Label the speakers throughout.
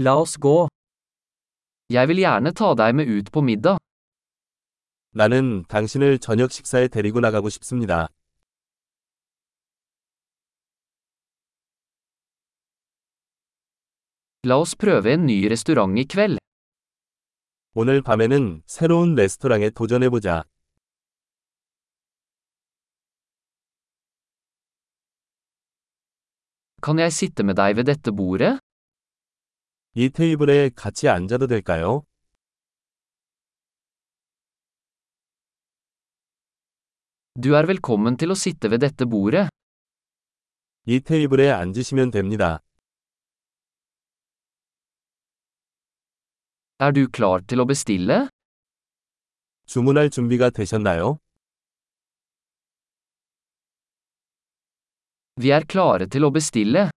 Speaker 1: La oss gå. Jeg vil gjerne ta deg med ut på middag.
Speaker 2: 나는 당신을 저녁 식사에 데리고 나가고 싶습니다.
Speaker 1: La oss prøve en ny restaurant i kveld.
Speaker 2: 오늘 밤에는 새로운 레스토랑에 도전해보자.
Speaker 1: Kan jeg sitte med deg ved dette bordet?
Speaker 2: 이 테이블에 같이 앉아도 될까요?
Speaker 1: Du er velkommen til å sitte ved dette bordet.
Speaker 2: 이 테이블에 앉으시면 됩니다.
Speaker 1: Er du klar til å bestille?
Speaker 2: 주문할 준비가 되셨나요?
Speaker 1: Vi er klare til å bestille.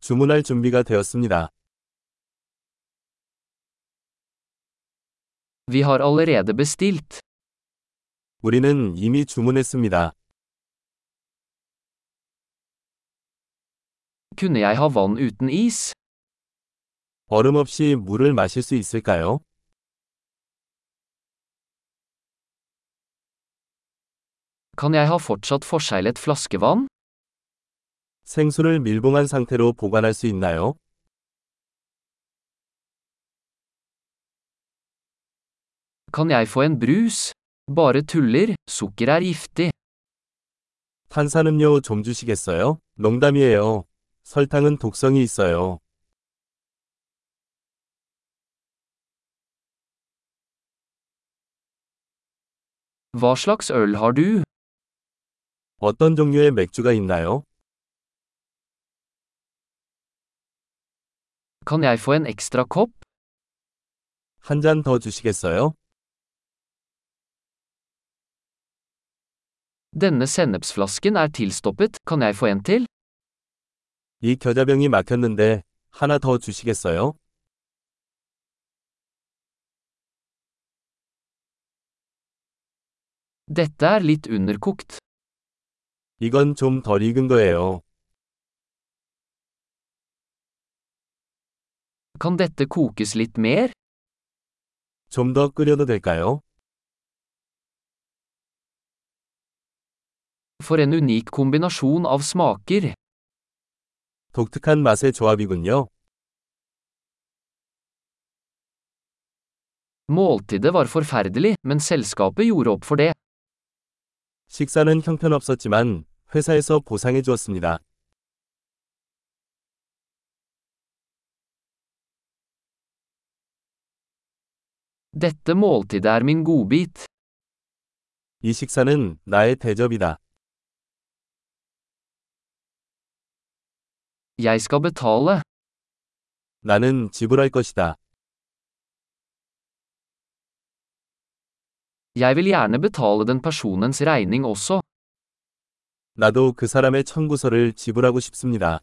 Speaker 2: 주문할 준비가 되었습니다.
Speaker 1: Vi har allerede bestilt.
Speaker 2: 우리는 이미 주문했습니다.
Speaker 1: Kunne jeg ha vann uten is?
Speaker 2: 얼음 없이 물을 마실 수 있을까요?
Speaker 1: Kan jeg ha fortsatt forseglet flaskevann?
Speaker 2: 생수를 밀봉한 상태로 보관할 수 있나요?
Speaker 1: Kan jeg få en brus? Bare tuller, sukker er giftig.
Speaker 2: 탄산음료 좀 주시겠어요? 농담이에요. 설탕은 독성이 있어요.
Speaker 1: Hva slags øl har du?
Speaker 2: 어떤 종류의 맥주가 있나요?
Speaker 1: Kan jeg få en ekstra kopp?
Speaker 2: 한 잔 더 주시겠어요?
Speaker 1: Denne sennepsflasken er tilstoppet, kan jeg få en til?
Speaker 2: 이 겨자병이 막혔는데 하나 더 주시겠어요?
Speaker 1: Dette er litt underkokt.
Speaker 2: 이건 좀 덜 익은 거예요.
Speaker 1: Kan dette kokes litt mer?
Speaker 2: 좀 더 끓여도 될까요?
Speaker 1: For en unik kombinasjon av smaker.
Speaker 2: 독특한 맛의 조합이군요.
Speaker 1: Måltidet var forferdelig, men selskapet gjorde opp for det.
Speaker 2: 식사는 형편없었지만 회사에서 보상해 주었습니다.
Speaker 1: Dette måltidet er min godbit.
Speaker 2: 이 식사는 나의 대접이다.
Speaker 1: Jeg skal betale.
Speaker 2: 나는 지불할 것이다.
Speaker 1: Jeg vil gjerne betale den personens regning også.
Speaker 2: 나도 그 사람의 청구서를 지불하고 싶습니다.